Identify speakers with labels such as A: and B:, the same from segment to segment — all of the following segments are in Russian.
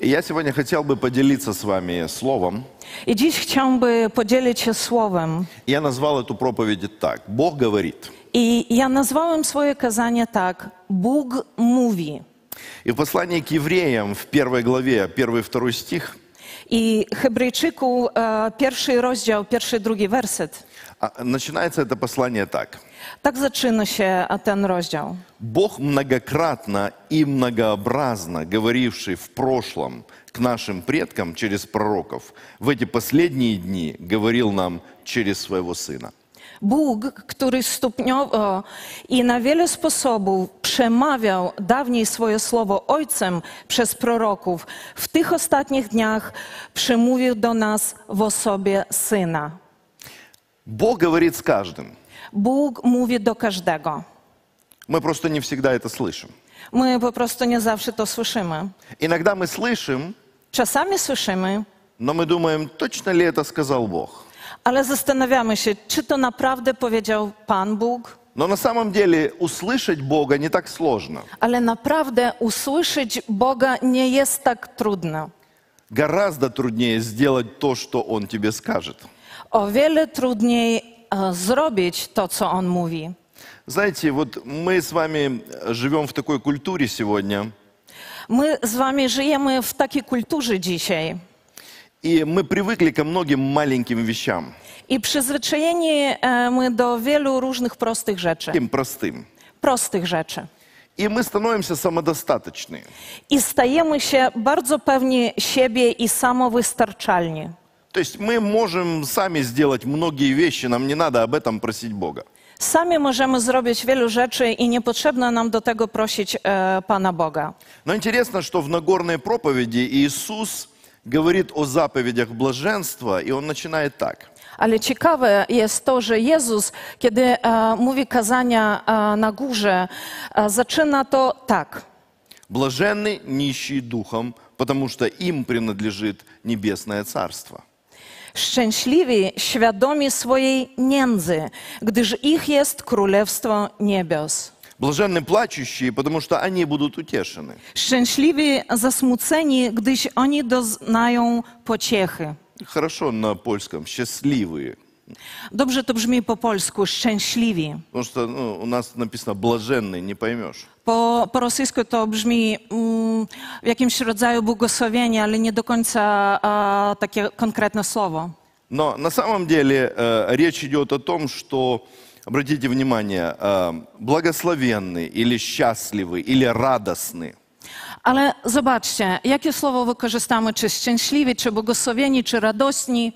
A: Я сегодня хотел бы поделиться с вами словом.
B: I dziś chciałam by podzielić się słowem.
A: Я назвал эту проповедь так. Бог говорит.
B: I ja nazwałem swoje kazanie tak: Bóg mówi.
A: И в послании к евреям в первой главе, первый и второй стих,
B: I Hebrajczyku e, pierwszy rozdział, pierwszy drugi werset.
A: а, начинается это послание так.
B: Tak zaczyna się e, ten rozdział.
A: Бог многократно и многообразно говоривший в прошлом к нашим предкам через пророков, в эти последние дни говорил нам через своего Сына.
B: Bóg, który stopniowo i na wiele sposobów przemawiał dawniej swoje słowo Ojcem przez proroków, w tych ostatnich dniach przemówił do nas w osobie Syna.
A: Бог говорит с каждым.
B: Bóg mówi do każdego.
A: Мы просто не всегда это слышим.
B: My po prostu nie zawsze to słyszymy.
A: Иногда мы слышим,
B: Czasami słyszymy,
A: но мы думаем, точно ли это сказал Бог.
B: ale zastanawiamy się, czy to naprawdę powiedział Pan Bóg.
A: Но на самом деле услышать Бога не так сложно.
B: Ale naprawdę usłyszeć Boga nie jest tak trudno.
A: Гораздо труднее сделать то, что Он тебе скажет.
B: O wiele trudniej e, zrobić to, co on mówi.
A: Знаете, вот мы с вами э, живем в такой культуре сегодня,
B: My z wami żyjemy w takiej kulturze dzisiaj
A: и мы привыкли ко многим маленьким вещам,
B: i przyzwyczajeni e, my do wielu różnych prostych rzeczy.
A: таким простым.
B: Prostych rzeczy.
A: И мы становимся самодостаточны.
B: I stajemy się bardzo pewni siebie i samowystarczalni.
A: То есть мы можем сами сделать многие вещи, нам не надо об этом просить Бога.
B: Sami możemy zrobić wielu rzeczy i nie potrzebno nam do tego prosić e, Pana Boga.
A: Но интересно, что в Нагорной проповеди Иисус говорит о заповедях блаженства, и он начинает так.
B: Ale ciekawe jest to, że Jezus, kiedy e, mówi kazania e, na górze, e, zaczyna to tak.
A: Блаженны нищие духом, потому что им принадлежит небесное царство.
B: Szczęśliwi, świadomi swojej nędzy, gdyż ich jest królestwo niebios.
A: Блаженны плачущие, потому что они будут утешены.
B: Szczęśliwi, zasmuceni, gdyż oni doznają pociechy.
A: Хорошо на польском, счастливые.
B: Dobrze to brzmi po polsku, szczęśliwi.
A: Потому что ну, у нас написано блаженный, не поймешь.
B: Po, po rosyjsku to brzmi mm, w jakimś rodzaju błogosławienie, ale nie do końca e, takie konkretne słowo.
A: Но на самом деле э, речь идет о том, что, обратите внимание, э, благословенны или счастливы или радостны.
B: Ale zobaczcie, jakie słowo wykorzystamy, czy szczęśliwi, czy błogosławieni, czy radośni.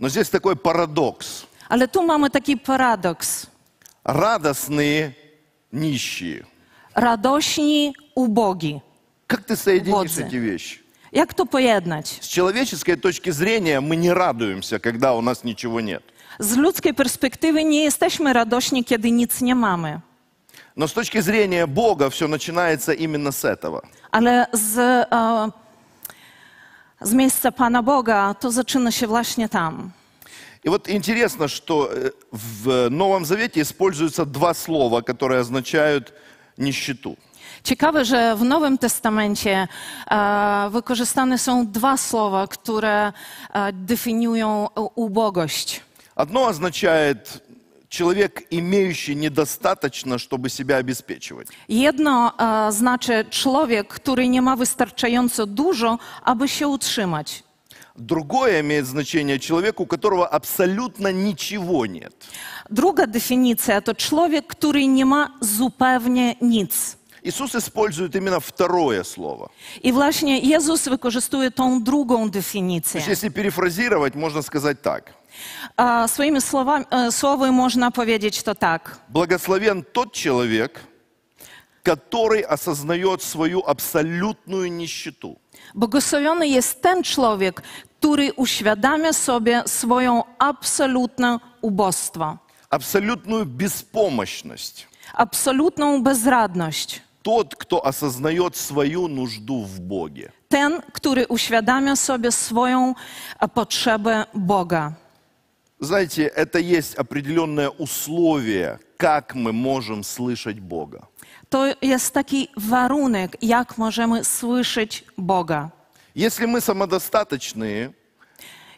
A: Но здесь такой парадокс.
B: Ale tu mamy taki paradoks.
A: Радостные нищие.
B: Radośni, ubogi.
A: Как ты соединишь
B: Водзе.
A: эти вещи?
B: Jak to pojednać?
A: С человеческой точки зрения мы не радуемся, когда у нас ничего нет.
B: Z ludzkiej perspektywy nie jesteśmy radośni, kiedy nic nie mamy.
A: Но с точки зрения Бога все начинается именно с этого.
B: Ale z, e, z miejsca Pana Boga to zaczyna się właśnie tam.
A: И вот интересно, что э, в Новом Завете используются два слова, которые означают нищету.
B: Ciekawe, że w Nowym Testamencie e, wykorzystane są dwa słowa, które e, definiują u- ubogość.
A: Одно означает человек, имеющий недостаточно, чтобы себя обеспечивать.
B: Jedno e, znaczy człowiek, który nie ma wystarczająco dużo, aby się utrzymać.
A: Другое имеет значение человек, у которого абсолютно ничего нет.
B: Druga definicja to człowiek, który nie ma zupełnie nic.
A: Иисус использует именно второе слово.
B: I właśnie Jezus wykorzystuje tą drugą
A: То
B: definicję.
A: есть, если перефразировать, можно сказать так.
B: A swoimi słowami, e, słowy można powiedzieć to tak.
A: Благословен тот человек, который осознает свою абсолютную нищету.
B: Błogosławiony jest ten człowiek, który uświadamia sobie swoją absolutną ubóstwo,
A: абсолютную беспомощность.
B: absolutną bezradność.
A: Тот, кто осознает свою нужду в Боге.
B: Ten, który uświadamia sobie swoją e, potrzebę Boga.
A: Знаете, это есть определенное условие, как мы можем слышать Бога.
B: To jest taki warunek, jak możemy słyszeć Boga.
A: Если мы самодостаточные,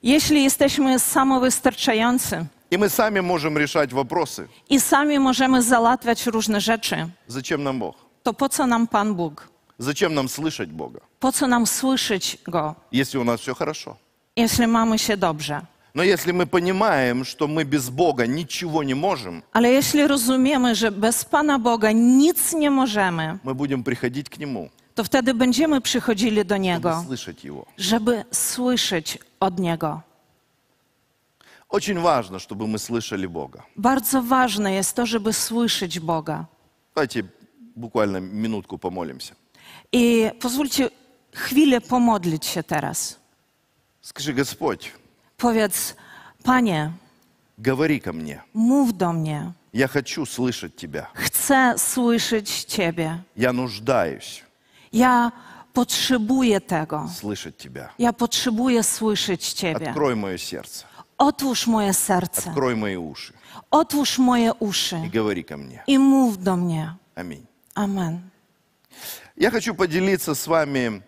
B: Jeśli jesteśmy samowystarczający
A: и мы сами можем решать вопросы,
B: i sami możemy załatwiać różne rzeczy,
A: зачем нам Бог?
B: to po co nam Pan Bóg?
A: Зачем нам слышать Бога,
B: Po co nam słyszeć Go,
A: если у нас все хорошо?
B: jeśli mamy się dobrze?
A: Но если мы понимаем, что мы без Бога ничего не можем,
B: Ale jeśli rozumiemy, że bez Pana Boga nic nie możemy,
A: мы будем приходить к Нему,
B: to wtedy będziemy przychodzili do
A: чтобы
B: Niego,
A: слышать Его.
B: żeby słyszeć od Niego.
A: Очень важно, чтобы мы слышали Бога.
B: Bardzo ważne jest to, żeby słyszeć Boga.
A: Давайте буквально минутку помолимся.
B: I pozwólcie chwilę pomodlić się teraz.
A: Скажи, Господь,
B: Powiedz, Panie,
A: говори ко мне.
B: mów do mnie.
A: Я хочу слышать Тебя.
B: Chcę słyszeć Ciebie.
A: Я нуждаюсь
B: Ja potrzebuję tego.
A: слышать Тебя.
B: Ja potrzebuję słyszeć Ciebie.
A: Открой мое сердце,
B: Otwórz moje serce,
A: открой мои уши
B: otwórz moje
A: и
B: uszy
A: говори ко мне.
B: i mów do mnie.
A: Аминь.
B: Amen.
A: Я хочу поделиться с вами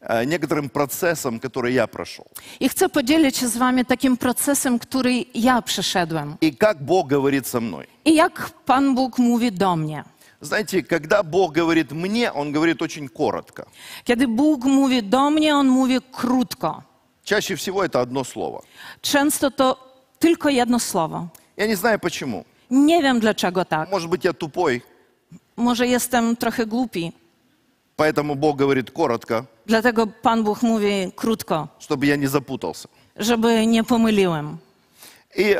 A: э, некоторым процессом, который я прошел.
B: I chcę podzielić się z Wami takim procesem, który ja przeszedłem
A: И как Бог говорит со мной.
B: i jak Pan Bóg mówi do mnie.
A: Знаете, когда Бог говорит мне, Он говорит очень коротко.
B: Kiedy Bóg mówi do mnie, On mówi krótko.
A: Чаще всего это одно слово.
B: Często to tylko jedno słowo.
A: Я не знаю почему.
B: Nie wiem dlaczego tak.
A: Может быть, я тупой,
B: Może jestem trochę głupi,
A: поэтому Бог говорит коротко,
B: dlatego Pan Bóg mówi krótko,
A: чтобы я не запутался.
B: żeby nie pomyliłem.
A: И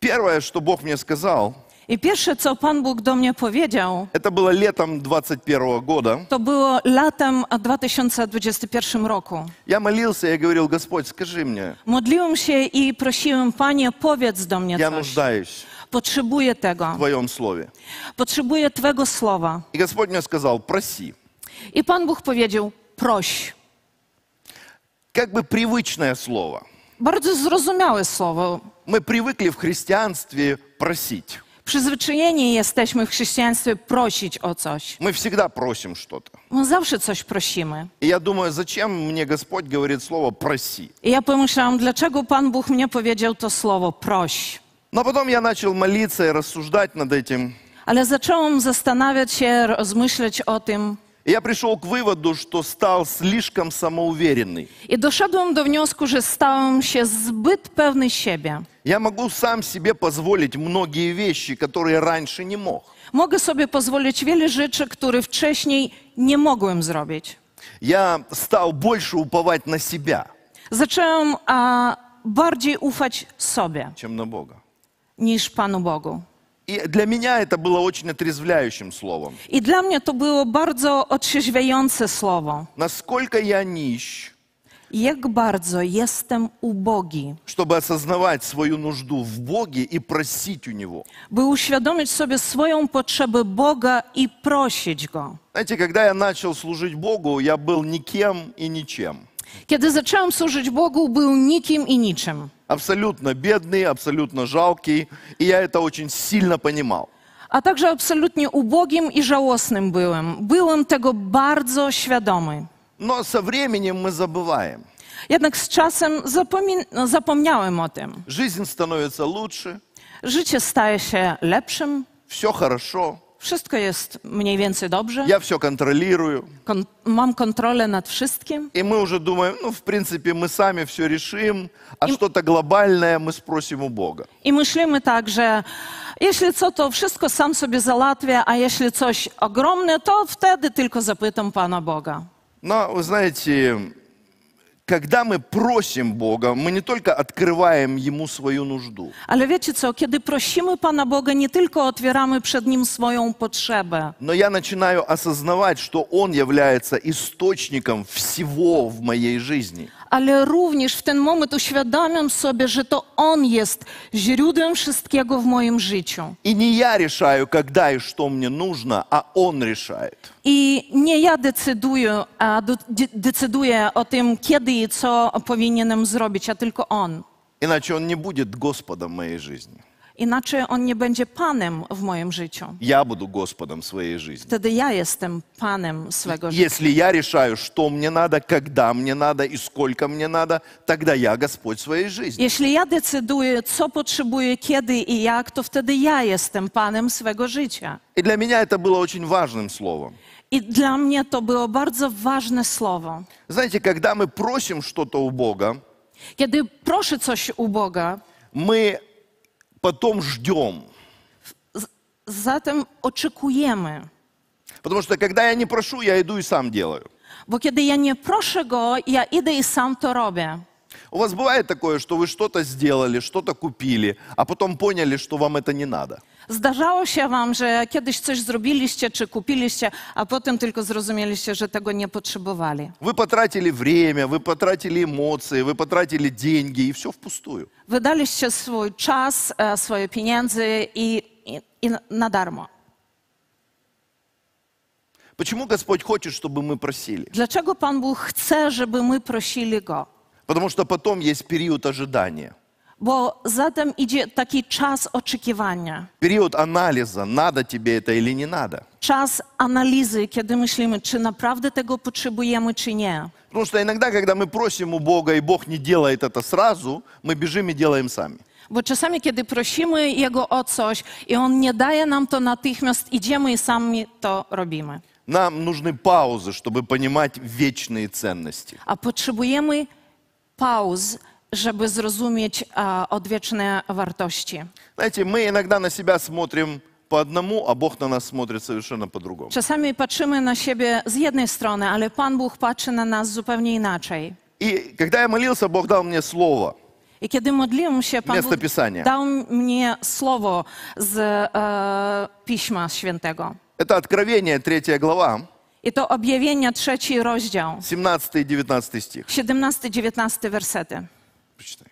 A: первое, что Бог мне сказал,
B: I pierwsze, co Pan Bóg do mnie powiedział,
A: это было летом 21 года.
B: to było latem 2021 roku.
A: Я молился, я говорил, Господь, скажи мне,
B: Modliłem się i prosiłem, Panie, powiedz do mnie
A: я
B: coś.
A: нуждаюсь
B: Potrzebuję
A: в
B: tego.
A: Твоем Слове.
B: Potrzebuję Twego słowa.
A: И Господь мне сказал, проси.
B: I Pan Bóg powiedział, proś.
A: Как бы привычное слово.
B: Bardzo zrozumiałe słowo.
A: Мы привыкли в христианстве просить.
B: Przyzwyczajeni jesteśmy w chrześcijaństwie prosić o coś.
A: Мы всегда просим что-то.
B: My zawsze coś prosimy.
A: И я думаю, зачем мне Господь говорит слово «проси».
B: I ja pomyślałam, dlaczego Pan Bóg mnie powiedział to słowo, proś.
A: Но потом я начал молиться и рассуждать над этим.
B: Ale zaczęłam zastanawiać się, rozmyślać o tym
A: И я пришел к выводу, что стал slишком самоуверенный.
B: i doszedłem do wniosku, że stałem się zbyt pewny siebie.
A: Я могу сам себе позволить многие вещи, которые раньше не мог.
B: Mogę sobie pozwolić wiele rzeczy, które wcześniej nie mogłem zrobić.
A: Я стал больше уповать на себя,
B: Zaczęłam a, bardziej ufać sobie
A: чем на Бога.
B: niż Panu Bogu.
A: И для меня это было очень отрезвляющим словом.
B: I dla mnie to było bardzo otrzeźwiające słowo.
A: Насколько я нищ,
B: Jak bardzo jestem ubogi,
A: чтобы осознавать свою нужду в Боге и просить у Него.
B: by uświadomić sobie swoją potrzebę Boga i prosić Go.
A: Знаете, когда я начал служить Богу, я был никем и ничем.
B: Kiedy zacząłem służyć Bogu, był nikim i niczym.
A: Абсолютно бедный, абсолютно жалкий, и я это очень сильно понимал.
B: A także absolutnie ubogim i żałosnym byłem. Byłem tego bardzo świadomy.
A: Но со временем мы забываем.
B: Jednak z czasem zapomin- no, zapomniałem o tym.
A: Жизнь становится лучше,
B: Życie staje się lepszym,
A: все хорошо,
B: wszystko jest mniej więcej dobrze,
A: я все контролирую.
B: kon- mam kontrolę nad wszystkim.
A: И мы уже думаем, ну, в принципе, мы сами все решим, а что-то глобальное мы спросим у Бога.
B: I myślimy tak, że jeśli co, to wszystko sam sobie załatwię, a jeśli coś ogromne, to wtedy tylko zapytam Pana Boga.
A: Но, вы знаете, когда мы просим Бога, мы не только открываем Ему свою нужду,
B: Ale wiecie co, kiedy prosimy Pana Boga, nie tylko otwieramy przed Nim swoją potrzebę,
A: но я начинаю осознавать, что Он является источником всего в моей жизни.
B: ale również w ten moment uświadamiam sobie, że to On jest źródłem wszystkiego w moim życiu.
A: И не я решаю, когда и что мне нужно, а Он решает.
B: I nie ja decyduję, a do, de, decyduję o tym, kiedy i co powinienem zrobić, a tylko On.
A: Иначе Он не будет Господом моей жизни.
B: Inaczej on nie będzie panem w moim życiu.
A: Я буду Господом своей жизни.
B: Wtedy ja jestem panem swego życia.
A: Если я решаю, что мне надо, когда мне надо и сколько мне надо, тогда я Господь своей жизни.
B: Jeśli ja decyduję, co potrzebuję, kiedy i jak, to wtedy ja jestem panem swego życia.
A: И для меня это было очень важным словом.
B: I dla mnie to było bardzo ważne słowo.
A: Знаете, когда мы просим что-то у Бога,
B: Kiedy proszę coś u Boga,
A: мы потом ждем.
B: z- zatem oczekujemy.
A: Потому что когда я не прошу, я иду и сам делаю.
B: Bo kiedy ja nie proszę Go, ja idę i sam to robię.
A: У вас бывает такое, что вы что-то сделали, что-то купили, а потом поняли, что вам это не надо.
B: Zdarzało się Wam, że kiedyś coś zrobiliście czy kupiliście, a potem tylko zrozumieliście, że tego nie potrzebowali.
A: Вы потратили время, вы потратили эмоции, вы потратили деньги, и все впустую.
B: Wydaliście swój czas, e, swoje pieniądze i, i, i na darmo.
A: Почему Господь хочет, чтобы мы просили?
B: Dlaczego Pan Bóg chce, żeby my prosili Go?
A: Потому что потом есть период ожидания,
B: Bo zatem idzie taki czas oczekiwania,
A: период анализа, надо тебе это или не надо.
B: czas analizy, kiedy myślimy, czy naprawdę tego potrzebujemy, czy nie.
A: Потому что иногда, когда мы просим у Бога, и Бог не делает это сразу, мы бежим и делаем сами.
B: Bo czasami, kiedy prosimy Jego o coś i On nie daje nam to natychmiast, idziemy i sami to robimy.
A: Нам нужны паузы, чтобы понимать вечные ценности.
B: A potrzebujemy pauz, żeby zrozumieć e, odwieczne wartości.
A: Знаете, мы иногда на себя смотрим по одному, а Бог на нас смотрит совершенно по-другому.
B: Czasami patrzymy na siebie z jednej strony, ale Pan Bóg patrzy na nas zupełnie inaczej.
A: И когда я молился, Бог дал мне слово.
B: I kiedy modliłem się, Pan
A: Miasto
B: Bóg
A: Pisania.
B: dał mnie słowo z e, Pisma Świętego.
A: Это Откровение, 3 глава,
B: I to objawienia, trzeci rozdział,
A: 17 и 19 стих.
B: 17-19 wersety.
A: Почитай.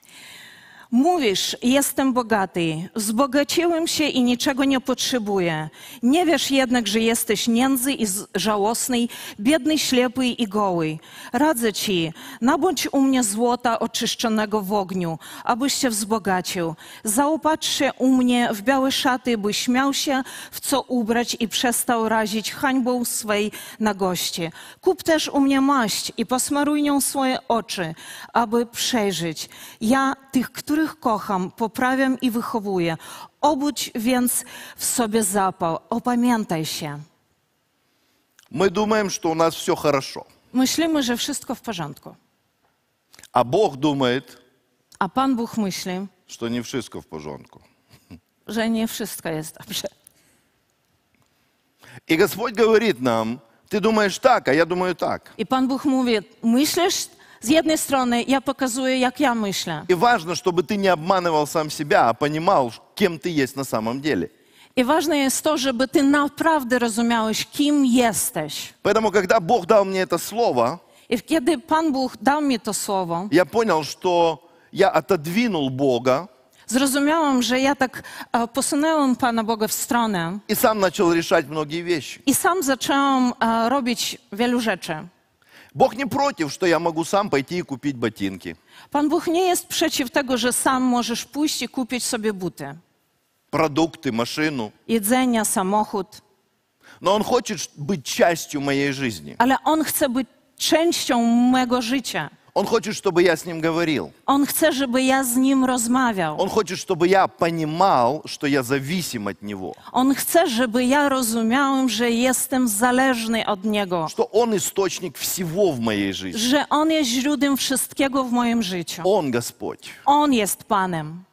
B: Mówisz, jestem bogaty, wzbogaciłem się i niczego nie potrzebuję. Nie wiesz jednak, że jesteś nędzy i z- żałosny, biedny, ślepy i goły. Radzę ci, nabądź u mnie złota oczyszczonego w ogniu, abyś się wzbogacił. Zaopatrz się u mnie w białe szaty, by śmiał się, w co ubrać i przestał razić hańbą swej nagości. Kup też u mnie maść i posmaruj nią swoje oczy, aby przejrzeć. Ja tych, których kocham, poprawiam i wychowuję. Obudź więc w sobie zapał, opamiętaj się.
A: Мы думаем, что у нас все хорошо.
B: Myślimy, że wszystko w porządku,
A: А Бог думает,
B: a Pan Bóg myśli,
A: что не все в пожонку.
B: że nie wszystko jest dobrze.
A: И Господь говорит нам, ты думаешь так, а я думаю так.
B: I Pan Bóg mówi, myślisz z jednej strony, ja pokazuję, jak ja myślę.
A: И важно, чтобы ты не обманывал сам себя, а понимал, кем ты есть на самом деле.
B: I ważne jest to, żeby ty naprawdę rozumiałeś, kim jesteś.
A: Поэтому, когда Бог дал мне это слово,
B: I kiedy Pan Bóg dał mi to słowo,
A: я понял, что я отодвинул Бога
B: zrozumiałam, że ja tak e, posunęłam Pana Boga w stronę
A: и сам начал решать многие вещи.
B: i sam zaczęłam e, robić wielu rzeczy.
A: Бог не против, что я могу сам пойти и купить ботинки.
B: Pan Bóg nie jest przeciw tego, że sam możesz pójść i kupić sobie buty,
A: продукты, машину.
B: jedzenia, samochód,
A: Но он хочет ш- быть частью моей жизни.
B: ale On chce być częścią mego życia.
A: Он хочет, чтобы я с ним говорил.
B: On chce, żeby ja z Nim rozmawiał.
A: Он хочет, чтобы я понимал, что я зависим от него.
B: On chce, żeby ja rozumiałem, że jestem zależny od Niego,
A: Что он источник всего в моей жизни.
B: że On jest źródłem wszystkiego w moim życiu.
A: Он Господь.
B: On jest Panem.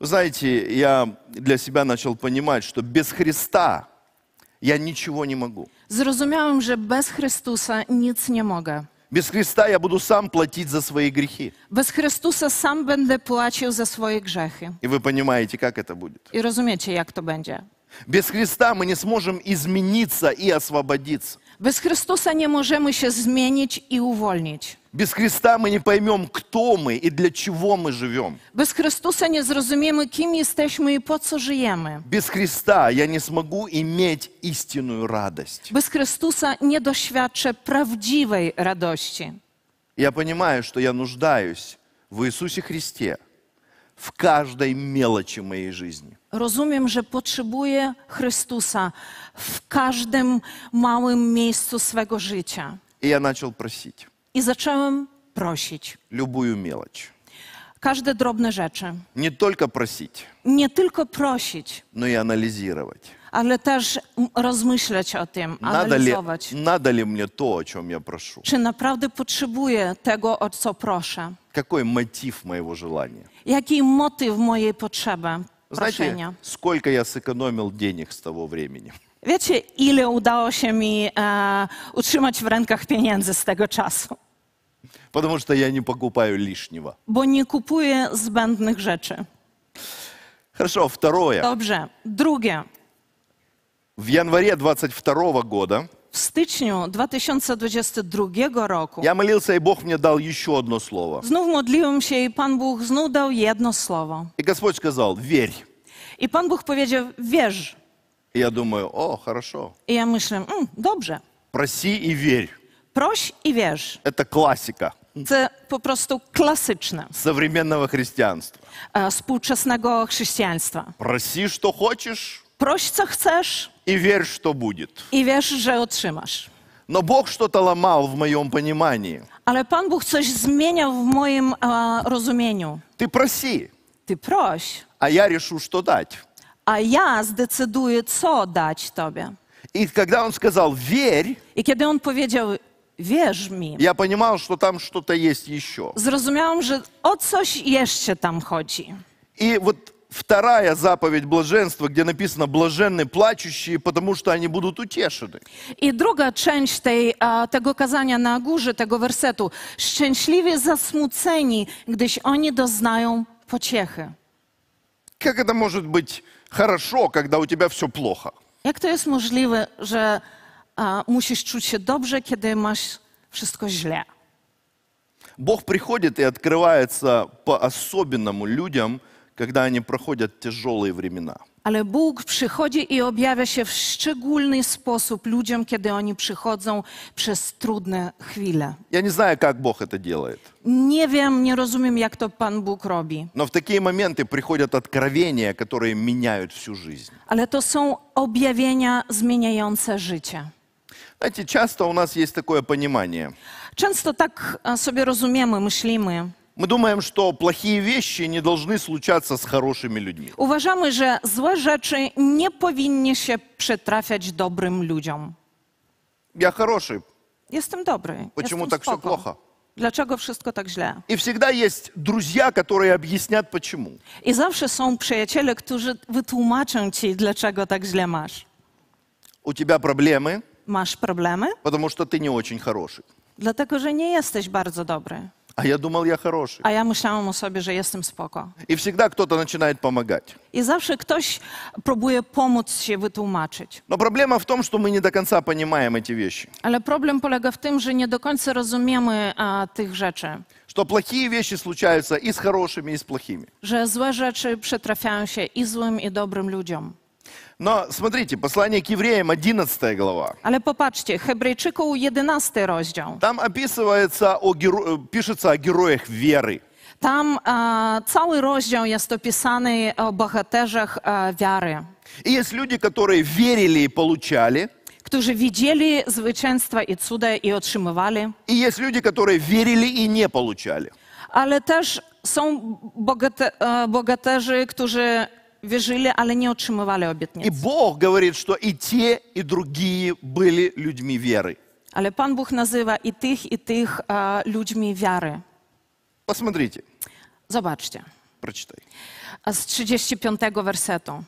A: Вы знаете, я для себя начал понимать, что без Христа я ничего не могу.
B: Zrozumiałem, że bez Chrystusa nic nie mogę.
A: Без Христа я буду сам платить за свои грехи.
B: Bez Chrystusa sam będę płacił za swoje grzechy.
A: И вы понимаете, как это будет.
B: I rozumiecie, jak to będzie.
A: Без Христа мы не сможем измениться и освободиться.
B: Bez Chrystusa nie możemy się zmienić i uwolnić.
A: Без Христа мы не поймем, кто мы и для чего мы живем.
B: Bez Chrystusa nie zrozumiemy, kim jesteśmy i po co żyjemy.
A: Без Христа я не смогу иметь истинную радость.
B: Bez Chrystusa nie doświadczę prawdziwej radości.
A: Я понимаю, что я нуждаюсь в Иисусе Христе, в каждой meleči моей жизни.
B: Rozumiem, że potrzebuję Chrystusa w każdym małym miejscu swego życia.
A: И я начал просить
B: I zacząłem prosić.
A: любую мелочь.
B: Każde drobne rzeczy.
A: Не только просить,
B: Nie tylko prosić,
A: но и анализировать.
B: ale też m- rozmyśleć o tym,
A: Надо ли,
B: analizować.
A: надо ли мне то, о чем я прошу?
B: Czy naprawdę potrzebuję tego, o co proszę?
A: Какой мотив моего желания?
B: Jaki motyw mojej potrzeby, proszenia?
A: Знаете, сколько я сэкономил денег с того времени?
B: Wiecie, ile udało się mi e, utrzymać w rękach pieniędzy z tego czasu?
A: Потому что я не покупаю лишнего.
B: Bo nie kupuję zbędnych rzeczy.
A: Хорошо, второе.
B: Dobrze. Drugie.
A: В январе 22 года
B: W styczniu 2022 roku
A: я молился, и Бог мне дал еще одно слово.
B: znów modliłem się i Pan Bóg znów dał jedno słowo.
A: И Господь сказал, верь.
B: I Pan Bóg powiedział, wierz.
A: И я думаю, о, хорошо,
B: I ja myślę, mm, dobrze,
A: проси и верь.
B: proś i wierz.
A: Это классика
B: To po prostu klasyczne
A: современного христианства.
B: e, współczesnego chrześcijaństwa.
A: Проси, что хочешь,
B: Proś, co chcesz
A: и верь, что будет.
B: i wierz, że otrzymasz.
A: Но Бог что-то ломал в моем понимании.
B: Ale Pan Bóg coś zmieniał w moim e, rozumieniu.
A: Ты проси,
B: Ty proś,
A: а я решу, что дать.
B: a ja zdecyduję, co dać Tobie.
A: И когда он сказал «верь»,
B: I kiedy on powiedział, wierz mi,
A: я понимал, что там что-то есть еще.
B: zrozumiałam, że o coś jeszcze tam chodzi.
A: И вот вторая заповедь блаженства, где написано «блаженны плачущие, потому что они будут утешены».
B: I druga część tej, e, tego kazania na górze, tego wersetu. Szczęśliwie zasmuceni, gdyż oni doznają pociechy.
A: Как это может быть хорошо, когда у тебя все плохо?
B: Jak to jest możliwe, że e, musisz czuć się dobrze, kiedy masz wszystko źle?
A: Бог приходит и открывается по-особенному людям, когда они проходят тяжелые времена.
B: Ale Bóg przychodzi i objawia się w szczególny sposób ludziom, kiedy oni przychodzą przez trudne chwile.
A: Я не знаю, как Бог это делает,
B: Nie wiem, nie rozumiem, jak to Pan Bóg robi,
A: но в такие моменты приходят откровения, которые меняют всю жизнь.
B: ale to są objawienia zmieniające życie.
A: Знаете, часто у нас есть такое понимание.
B: Często tak e, sobie rozumiemy, myślimy.
A: Мы думаем, что плохие вещи не должны случаться с хорошими людьми.
B: Uważamy, że złe rzeczy nie powinny się przytrafiać dobrym ludziom.
A: Я хороший,
B: Jestem dobry.
A: Почему
B: jestem
A: tak все
B: spoko.
A: плохо?
B: Dlaczego wszystko tak źle?
A: И всегда есть друзья, которые объяснят, почему.
B: I zawsze są przyjaciele, którzy wytłumaczą ci, dlaczego tak źle masz.
A: У тебя проблемы,
B: Masz problemy?
A: потому что ты не очень хороший.
B: Dlatego, że nie jesteś bardzo dobry.
A: А я думал, я хороший.
B: A ja myślałam o sobie, że jestem spoko.
A: И всегда кто-то начинает помогать.
B: I zawsze ktoś próbuje pomóc się wytłumaczyć.
A: Но проблема в том, что мы не до конца понимаем эти вещи.
B: Ale problem polega w tym, że nie do końca rozumiemy a, tych rzeczy.
A: Что плохие вещи случаются и с хорошими, и с плохими.
B: Że złe rzeczy przetrafiają się i złym, i dobrym ludziom.
A: Но смотрите, послание к евреям, 11 глава.
B: Ale popatrzcie, Hebrajczyków 11 rozdział.
A: Там описывается о геро- э, пишется о героях веры.
B: Tam e, cały rozdział jest opisany o bohaterzach e, wiary,
A: И есть люди, которые верили и получали.
B: którzy widzieli zwycięstwa i cuda i otrzymywali,
A: И есть люди, которые верили и не получали.
B: ale też są bogate, e, bogaterzy, którzy wierzyli, ale nie otrzymywali
A: И
B: obietnic.
A: Бог говорит, что и те, и другие были людьми веры.
B: Ale Pan Bóg nazywa i tych, i tych e, ludźmi wiary.
A: Посмотрите,
B: Zobaczcie.
A: прочитай.
B: A z 35 wersetu.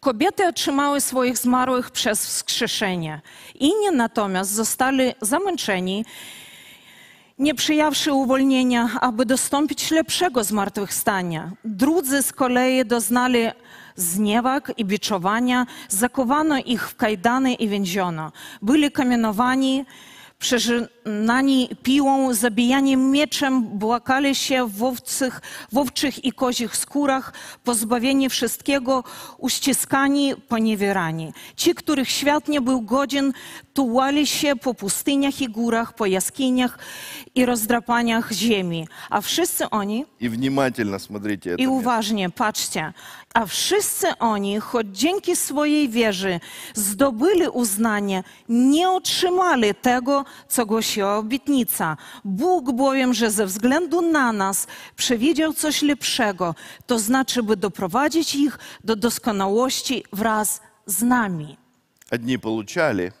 B: Kobiety otrzymały swoich zmarłych przez wskrzeszenie. Inni natomiast zostali zamęczeni, nie przyjawszy uwolnienia, aby dostąpić lepszego zmartwychwstania. Drudzy z kolei doznali zniewag i biczowania, zakowano ich w kajdany i więziono. Byli kamienowani, Przeżynani piłą, zabijani mieczem, błakali się w owcych, w owczych i kozich skórach, pozbawieni wszystkiego, uściskani, poniewierani. Ci, których świat nie był godzien, tułali się po pustyniach i górach, po jaskiniach i rozdrapaniach ziemi. A wszyscy oni
A: И внимательно смотрите это
B: i
A: место.
B: uważnie, patrzcie. A wszyscy oni, choć dzięki swojej wierze zdobyli uznanie, nie otrzymali tego, co głosiła obietnica. Bóg bowiem, że ze względu na nas przewidział coś lepszego, to znaczy, by doprowadzić ich do doskonałości wraz z nami.
A: Одни получали,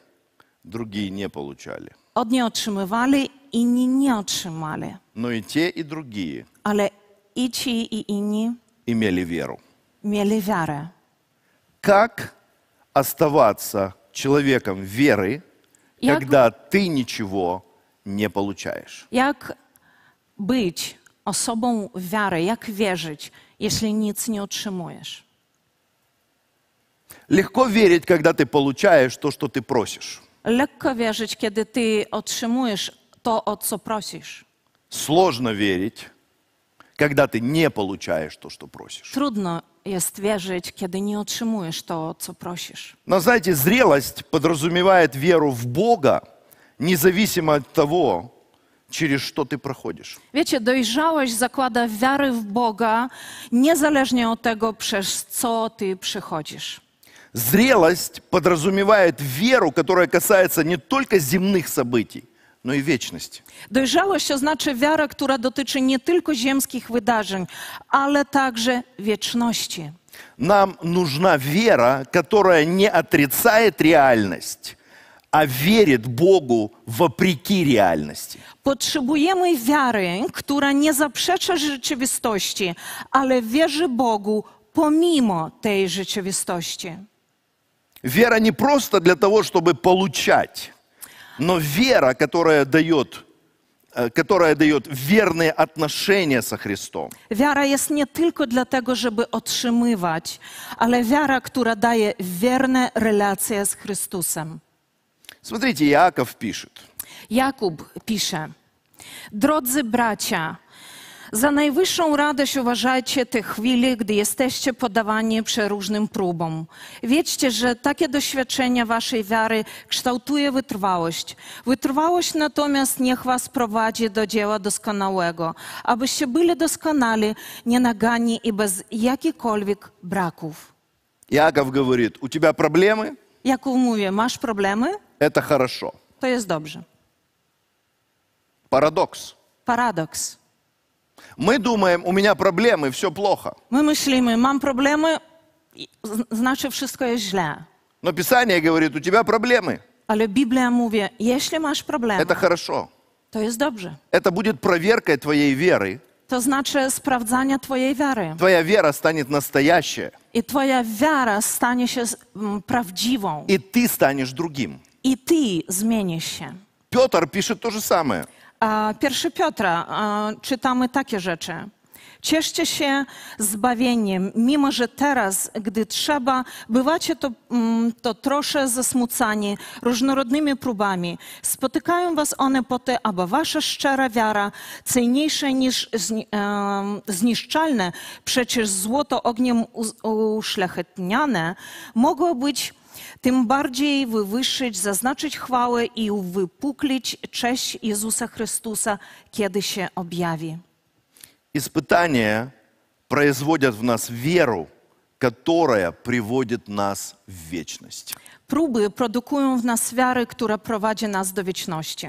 A: другие не получали.
B: Одні otrzymywali, inni nie otrzymali.
A: Но и те, и другие
B: Ale i ci, i inni
A: имели веру.
B: mieli wiarę.
A: Как оставаться человеком веры,
B: Я-
A: когда ты ничего не получаешь?
B: Jak być osobą wiary, jak wierzyć, jeśli nic nie otrzymujesz?
A: Легко верить, когда ты получаешь то, что ты просишь.
B: Lekko wierzyć, kiedy ty otrzymujesz to, o co prosisz.
A: Сложно верить, когда ты не получаешь то, что просишь.
B: Trudno jest wierzyć, kiedy nie otrzymujesz to, o co prosisz.
A: Но знаете, зрелость подразумевает веру в Бога, независимо от того, через что ты проходишь.
B: Wiecie, dojrzałość zakłada wiary w Boga, niezależnie od tego, przez co ty przechodzisz.
A: Зрелость подразумевает веру, которая касается не только земных событий, но и вечности.
B: Dojrzałość oznacza wiarę, która dotyczy nie tylko ziemskich wydarzeń, ale także wieczności.
A: Нам нужна вера, которая не отрицает реальность, а верит Богу вопреки реальности.
B: Potrzebujemy wiary, która nie zaprzecza rzeczywistości, ale wierzy Bogu pomimo tej rzeczywistości.
A: Вера не просто для того, чтобы получать, но вера, которая дает, э, которая дает верные отношения со Христом.
B: Wiara jest nie tylko dlatego, żeby otrzymywać, ale wiara, która daje wierne relacje z Chrystusem.
A: Смотрите, Иаков пишет.
B: Jakub pisze: Drodzy bracia, za najwyższą radość uważajcie te chwile, gdy jesteście poddawani przeróżnym próbom. Wiedzcie, że takie doświadczenie waszej wiary kształtuje wytrwałość. Wytrwałość natomiast niech was prowadzi do dzieła doskonałego, abyście byli doskonali, nienagani i bez jakichkolwiek braków.
A: Иаков говорит, у тебя проблемы?
B: Jakub mówi, masz problemy?
A: Это хорошо.
B: To jest dobrze.
A: Парадокс.
B: Paradoks.
A: Мы думаем, у меня проблемы, все плохо.
B: My myślimy, mam problemy, i- zn- znaczy wszystko jest źle.
A: Но Писание говорит, у тебя проблемы.
B: Ale Biblia mówi, jeśli masz problemy,
A: Это хорошо.
B: to jest dobrze.
A: Это будет проверкой твоей веры.
B: To znaczy sprawdzania twojej wiary.
A: Твоя вера станет настоящая,
B: I twoja wiara stanie się z- m, prawdziwą.
A: и ты станешь другим.
B: I ty zmienisz się.
A: Петр пишет то же самое.
B: A, Pierwszy Piotra, a, czytamy takie rzeczy. Cieszcie się zbawieniem, mimo że teraz, gdy trzeba, bywacie to, mm, to trosze zasmucani różnorodnymi próbami. Spotykają was one po to, aby wasza szczera wiara, cenniejsza niż zni, em, zniszczalne, przecież złoto ogniem uz- uszlachetniane, mogło być tym bardziej wywyższyć, zaznaczyć chwałę i uwypuklić cześć Jezusa Chrystusa, kiedy się objawi.
A: Испытания производят в нас веру, которая приводит нас в вечность.
B: Próby produkują w nas wiarę, która prowadzi nas do wieczności.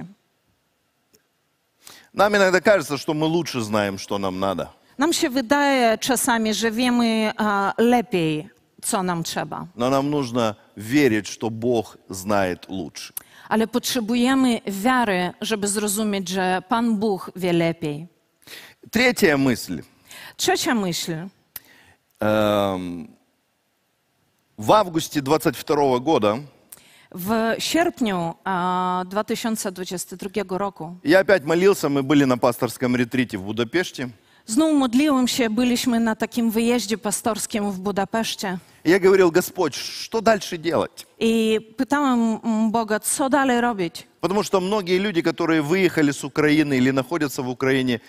A: Нам иногда кажется, что мы лучше знаем, что нам надо.
B: Nam się wydaje czasami, że wiemy a, lepiej, co nam trzeba,
A: Но нам нужно верить, что Бог знает лучше.
B: ale potrzebujemy wiary, żeby zrozumieć, że Pan Bóg wie lepiej.
A: Третья мысль.
B: Trzecia myśl.
A: Эм, В августе 22 года
B: W sierpniu a, 2022 roku
A: я опять молился, мы были на пасторском ретрите в Будапеште.
B: Znów modliłem się, byliśmy na takim wyjeździe pastorskim w Budapeszcie.
A: И я говорил, Господь, что дальше делать?
B: I pytałem mm, Boga, co dalej robić?
A: Потому что многие люди, которые выехали с Украины или находятся в Украине,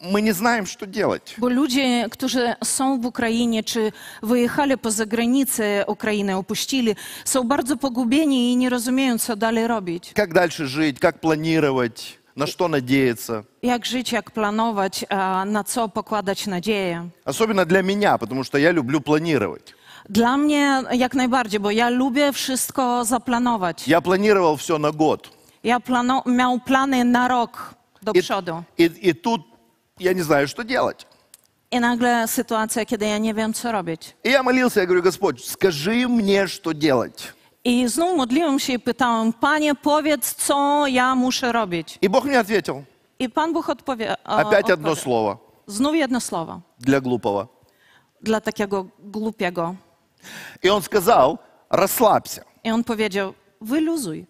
A: мы не знаем, что делать.
B: Bo ludzie, którzy są w Ukrainie, czy wyjechali poza granicę Ukrainy, opuścili, są bardzo pogubieni i nie rozumieją, co dalej robić.
A: Как дальше жить, как планировать, на что надеяться.
B: Jak żyć, jak planować, a na co pokładać nadzieję.
A: Особенно для меня, потому что я люблю планировать.
B: Dla mnie jak najbardziej, bo ja lubię wszystko zaplanować.
A: Я планировал все на год.
B: Ja plano- miał plany na rok do
A: И,
B: przodu.
A: и- и тут я не знаю, что делать.
B: I nagle sytuacja, kiedy ja nie wiem, co robić.
A: И я молился, я говорю, Господь, скажи мне, что делать.
B: I znów modliłem się i pytałem, Panie, powiedz, co ja muszę robić.
A: И Бог мне ответил.
B: I Pan Bóg odpowie. o-
A: Опять одно
B: odpowie-
A: слово
B: Znów jedno słowo
A: для глупого.
B: dla takiego głupiego.
A: И он сказал, расслабься.
B: I on powiedział, wyluzuj.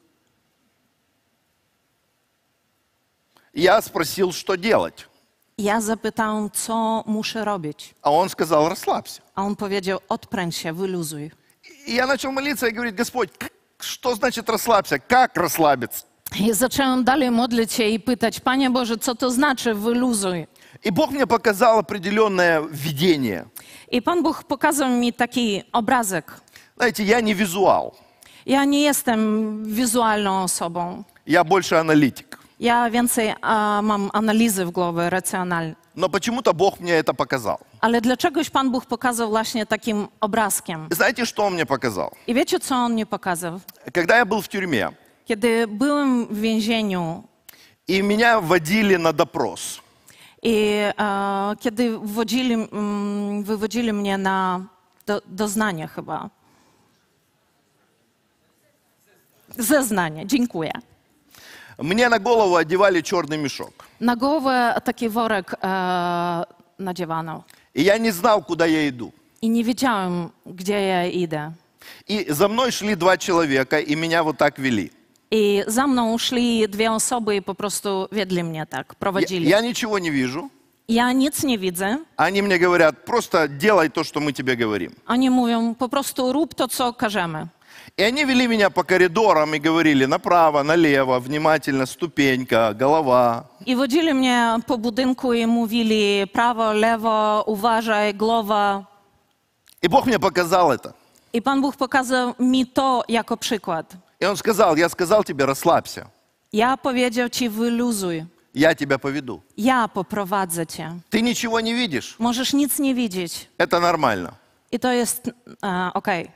A: Я спросил, что делать.
B: Ja zapytałem, co muszę robić.
A: А он сказал, расслабься.
B: A on powiedział, odpręż się, wyluzuj.
A: И я начал молиться и говорить, Господь, к- что значит расслабься? Как расслабиться?
B: I zacząłem dalej modlić się i pytać, Panie Boże, co to znaczy wyluzuj?
A: И Бог мне показал определенное видение.
B: I Pan Bóg pokazał mi taki obrazek.
A: Знаете, я не визуал,
B: Ja nie jestem wizualną osobą.
A: я больше аналитик.
B: Ja więcej a, mam analizy w głowie, racjonalne.
A: Но почему-то Бог мне это показал.
B: Ale dlaczegoś Pan Bóg pokazał właśnie takim obrazkiem.
A: И Знаете, что он мне показал?
B: I wiecie, co On mi pokazał?
A: Когда я был в тюрьме,
B: Kiedy byłem w więzieniu
A: и меня водили на допрос,
B: i e, kiedy wodzili, mm, wywodzili mnie na do, doznanie chyba. Zeznanie, dziękuję.
A: мне на голову одевали черный мешок.
B: Na głowę taki worek e, nadziewano
A: И я не знал, куда я иду.
B: i nie wiedziałem, gdzie ja idę.
A: И за мной шли два человека, и меня вот так вели.
B: I za mną szli dwie osoby i po prostu wiedli mnie tak,
A: Я,
B: prowadzili.
A: я ничего не вижу.
B: Ja nic nie widzę.
A: Они мне говорят, просто делай то, что мы тебе говорим.
B: Oni mówią, po prostu rób to, co każemy.
A: И они вели меня по коридорам и говорили направо, налево, внимательно, ступенька, голова.
B: I wodzili mnie po budynku i mówili prawo, lewo, uważaj, głowa.
A: И Бог мне показал это.
B: I Pan Bóg pokazał mi to jako przykład.
A: И Он сказал, я сказал тебе, расслабься,
B: Ja powiedział ci wyluzuj,
A: я тебя поведу.
B: ja poprowadzę cię.
A: Ты ничего не видишь,
B: Możesz nic nie widzieć
A: это nормально,
B: i to jest e, okej.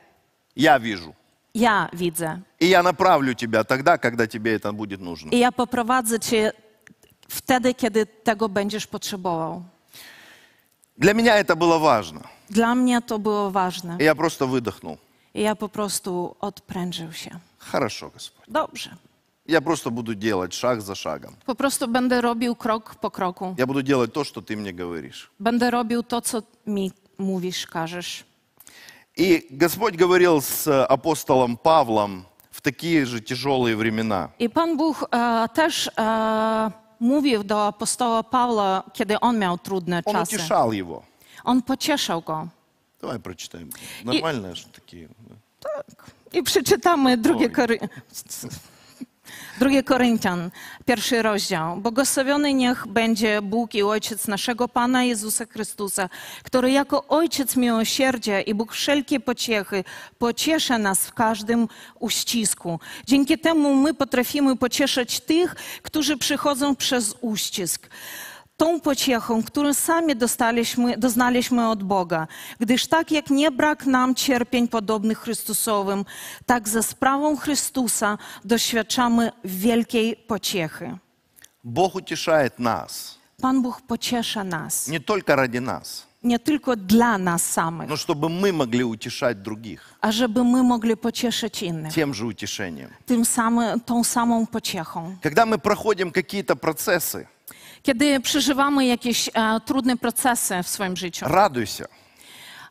A: я вижу.
B: Ja widzę
A: И я направлю тебя тогда, когда тебе это будет нужно.
B: i ja poprowadzę cię wtedy, kiedy tego będziesz potrzebował.
A: Для меня это было важно.
B: Dla mnie to było ważne
A: И я просто выдохнул.
B: i ja po prostu odprężył się.
A: Хорошо, Господь.
B: Dobrze.
A: Я просто буду делать шаг за шагом.
B: Po prostu będę robił krok po kroku.
A: Я буду делать то, что ты мне говоришь.
B: Będę robił to, co mi mówisz, każesz.
A: И Господь говорил с э, апостолом Павлом в такие же тяжелые времена.
B: I Pan Bóg e, też e, mówił do apostoła Pawła, kiedy on miał trudne
A: Он
B: czasy.
A: утешал его.
B: On pocieszał go.
A: Давай прочитаем. Нормально что такие. да?
B: I przeczytamy drugie, kory... drugie Koryntian, pierwszy rozdział. Błogosławiony niech będzie Bóg i Ojciec naszego Pana Jezusa Chrystusa, który jako Ojciec miłosierdzia i Bóg wszelkie pociechy pociesza nas w każdym uścisku. Dzięki temu my potrafimy pocieszać tych, którzy przychodzą przez uścisk. tą pociechą, którą sami dostaliśmy, doznaliśmy od Boga. Gdyż tak jak nie brak nam cierpień podobnych Chrystusowym, tak za sprawą Chrystusa doświadczamy wielkiej pociechy.
A: Бог утешает нас.
B: Pan Bóg pociesza nas,
A: Не только ради нас,
B: nie tylko dla nas samych,
A: но чтобы мы могли утешать других
B: a żeby my mogli pocieszyć innych
A: тем же утешением.
B: tym samym, tą samą pociechą.
A: Когда мы проходим какие-то процессы,
B: Kiedy przeżywamy jakieś e, trudne procesy w swoim życiu,
A: радуйся,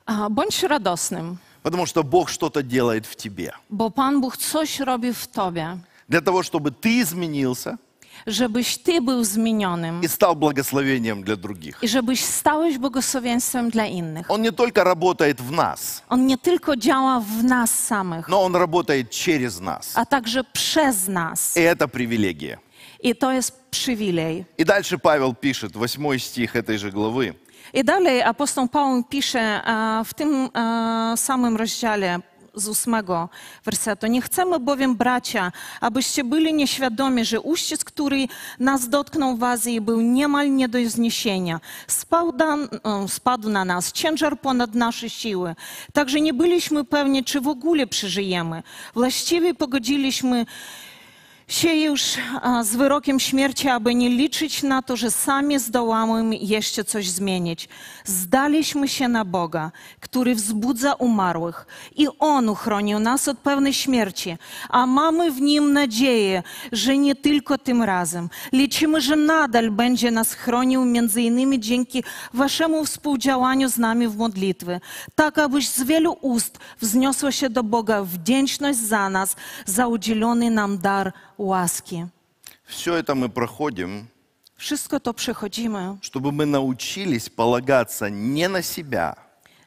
B: e, bądź radosnym,
A: потому что Бог что-то делает в тебе.
B: bo Pan Bóg coś robi w tobie.
A: Для того, чтобы ты изменился,
B: żebyś ty był zmienionym
A: и стал благословением для других.
B: i żebyś stałeś błogosławieństwem dla innych.
A: Он не только работает в нас,
B: On nie tylko działa w nas samych,
A: но он работает через нас.
B: a także przez nas.
A: И это привилегия.
B: I to jest przywilej.
A: И дальше Павел пишет, 8 стих этой же главы.
B: I dalej apostoł Paweł pisze e, w tym e, samym rozdziale z ósmego wersetu. Nie chcemy bowiem, bracia, abyście byli nieświadomi, że uścisk, który nas dotknął w Azji, był niemal nie do zniesienia. Spadł, da, e, spadł na nas ciężar ponad nasze siły. Także nie byliśmy pewni, czy w ogóle przeżyjemy. Właściwie pogodziliśmy się już a, z wyrokiem śmierci, aby nie liczyć na to, że sami zdołamy jeszcze coś zmienić. Zdaliśmy się na Boga, który wzbudza umarłych i On uchronił nas od pewnej śmierci, a mamy w Nim nadzieję, że nie tylko tym razem. Liczymy, że nadal będzie nas chronił między innymi dzięki Waszemu współdziałaniu z nami w modlitwy, tak abyś z wielu ust wzniosła się do Boga wdzięczność za nas, za udzielony nam dar łaski.
A: Все это мы проходим,
B: Wszystko to przechodzimy,
A: чтобы мы научились полагаться не на себя,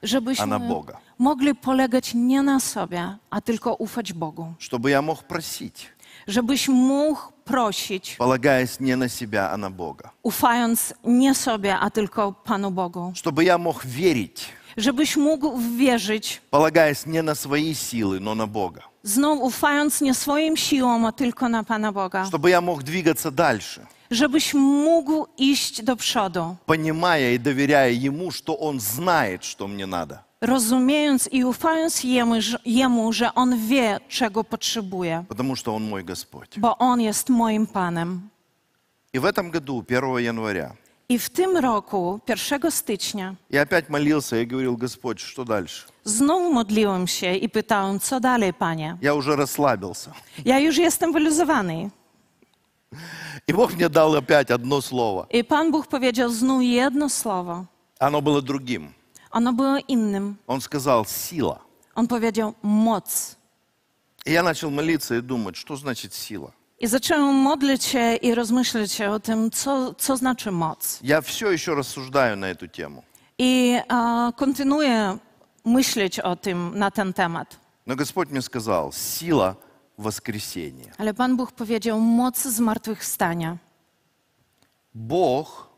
B: żebyśmy
A: A na Boga.
B: mogli polegać nie na sobie, a tylko ufać Bogu.
A: чтобы я мог просить,
B: Żebyś mógł prosić,
A: полагаясь не на себя, а на Бога.
B: ufając nie sobie, a tylko Panu Bogu.
A: Чтобы я мог верить,
B: Żebyś mógł wierzyć,
A: полагаясь не на свои силы, но на Бога.
B: znów ufając nie swoim siłom, a tylko na Pana Boga.
A: Чтобы я мог двигаться дальше,
B: żebyś mógł iść do przodu,
A: понимая и доверяя Ему, что Он знает, что мне надо.
B: rozumiejąc i ufając jemu, że- jemu, że On wie, czego potrzebuje,
A: Потому что Он мой Господь.
B: bo On jest moim Panem.
A: И в этом году, 1 января,
B: I w tym roku, 1 stycznia,
A: я опять молился и говорил, Господь, что дальше?
B: znów modliłem się i pytałem, co dalej, Panie?
A: Я уже расслабился.
B: Ja już jestem wyluzowany.
A: И Бог мне дал опять одно слово.
B: I Pan Bóg powiedział znów jedno słowo.
A: Оно было другим.
B: Ono było innym.
A: Он сказал «сила».
B: On powiedział moc.
A: И я начал молиться и думать, что значит сила?
B: I zacząłem modlić się i rozmyślać o tym, co, co znaczy moc.
A: Я все еще рассуждаю на эту тему.
B: I e, kontynuuję myśleć o tym na ten temat.
A: Но Господь мне сказал «сила воскресения».
B: Ale Pan Bóg powiedział moc zmartwychwstania.
A: Бог,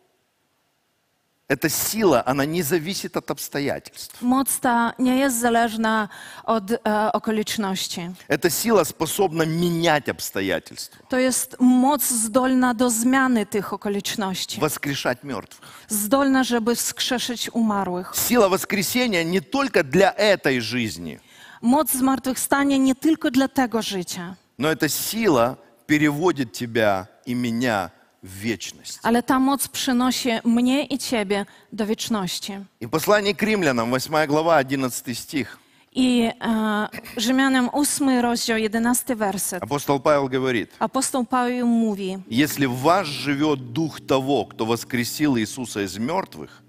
A: эта сила, она не зависит от обстоятельств.
B: Moc ta nie jest zależna od e, okoliczności.
A: Эта сила способна менять обстоятельства,
B: To jest moc zdolna do zmiany tych okoliczności.
A: воскрешать мертвых.
B: Zdolna, żeby wskrzeszyć umarłych.
A: Сила воскресения не только для этой жизни,
B: Moc zmartwychwstania nie tylko dla tego życia,
A: но эта сила переводит тебя и меня в вечность.
B: ale ta moc przynosi mnie i Ciebie do wieczności.
A: И послание к римлянам, 8 глава, 11 стих.
B: I e, Rzymianem 8 rozdział 11 werset.
A: Апостол Павел говорит,
B: Apostoł Paweł mówi:
A: Если в вас живет дух того, кто воскресил Иисуса из мертвых,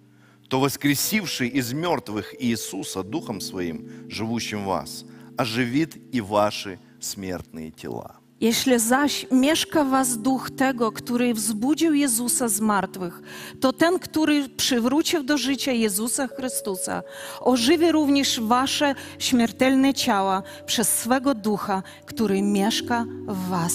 A: то воскресивший из мертвых Иисуса духом своим, живущим в вас, оживит и ваши смертные тела.
B: Jeśli zaś mieszka w was duch tego, który wzbudził Jezusa z martwych, to ten, który przywrócił do życia Jezusa Chrystusa, ożywi również wasze śmiertelne ciała przez swego ducha, który mieszka w was.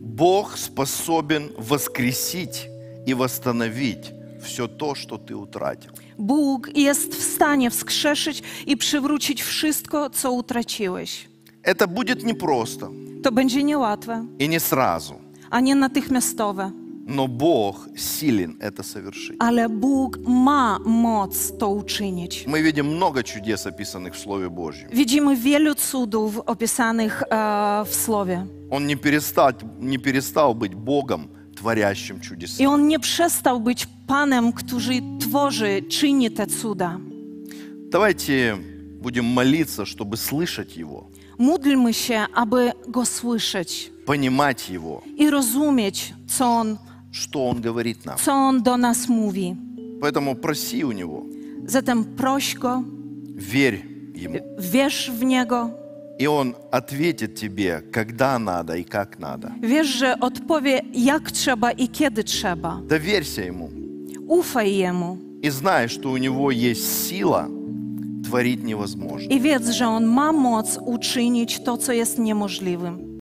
A: Бог способен воскресить и восстановить все то, что ты утратил.
B: Bóg jest w stanie wskrzeszyć i przywrócić wszystko, co utraciłeś.
A: Это будет непросто
B: To będzie niełatwe,
A: и не сразу,
B: a nie natychmiastowe,
A: но Бог силен это совершить.
B: ale Bóg ma moc to uczynić.
A: Мы видим много чудес, описанных в Слове Божьем.
B: Widzimy wielu cudów opisanych e, в Słowie.
A: Он не перестал, не перестал быть Богом, творящим чудеса.
B: I On nie przestał być Panem, który tworzy, czyni te cuda.
A: Давайте будем молиться, чтобы слышать Его,
B: Módlmy się, aby Go słyszeć
A: понимать Его,
B: i rozumieć, co On,
A: что Он говорит нам.
B: co on do nas mówi.
A: Поэтому проси у Него,
B: Zatem proś Go,
A: верь Ему,
B: wierz w Niego,
A: И Он ответит тебе, когда надо и как надо.
B: Wiesz, że odpowie jak trzeba i kiedy trzeba.
A: Доверься Ему
B: Ufaj Jemu
A: и знай, что у Него есть сила творить невозможное.
B: i wiedz, że On ma moc uczynić to, co jest niemożliwym.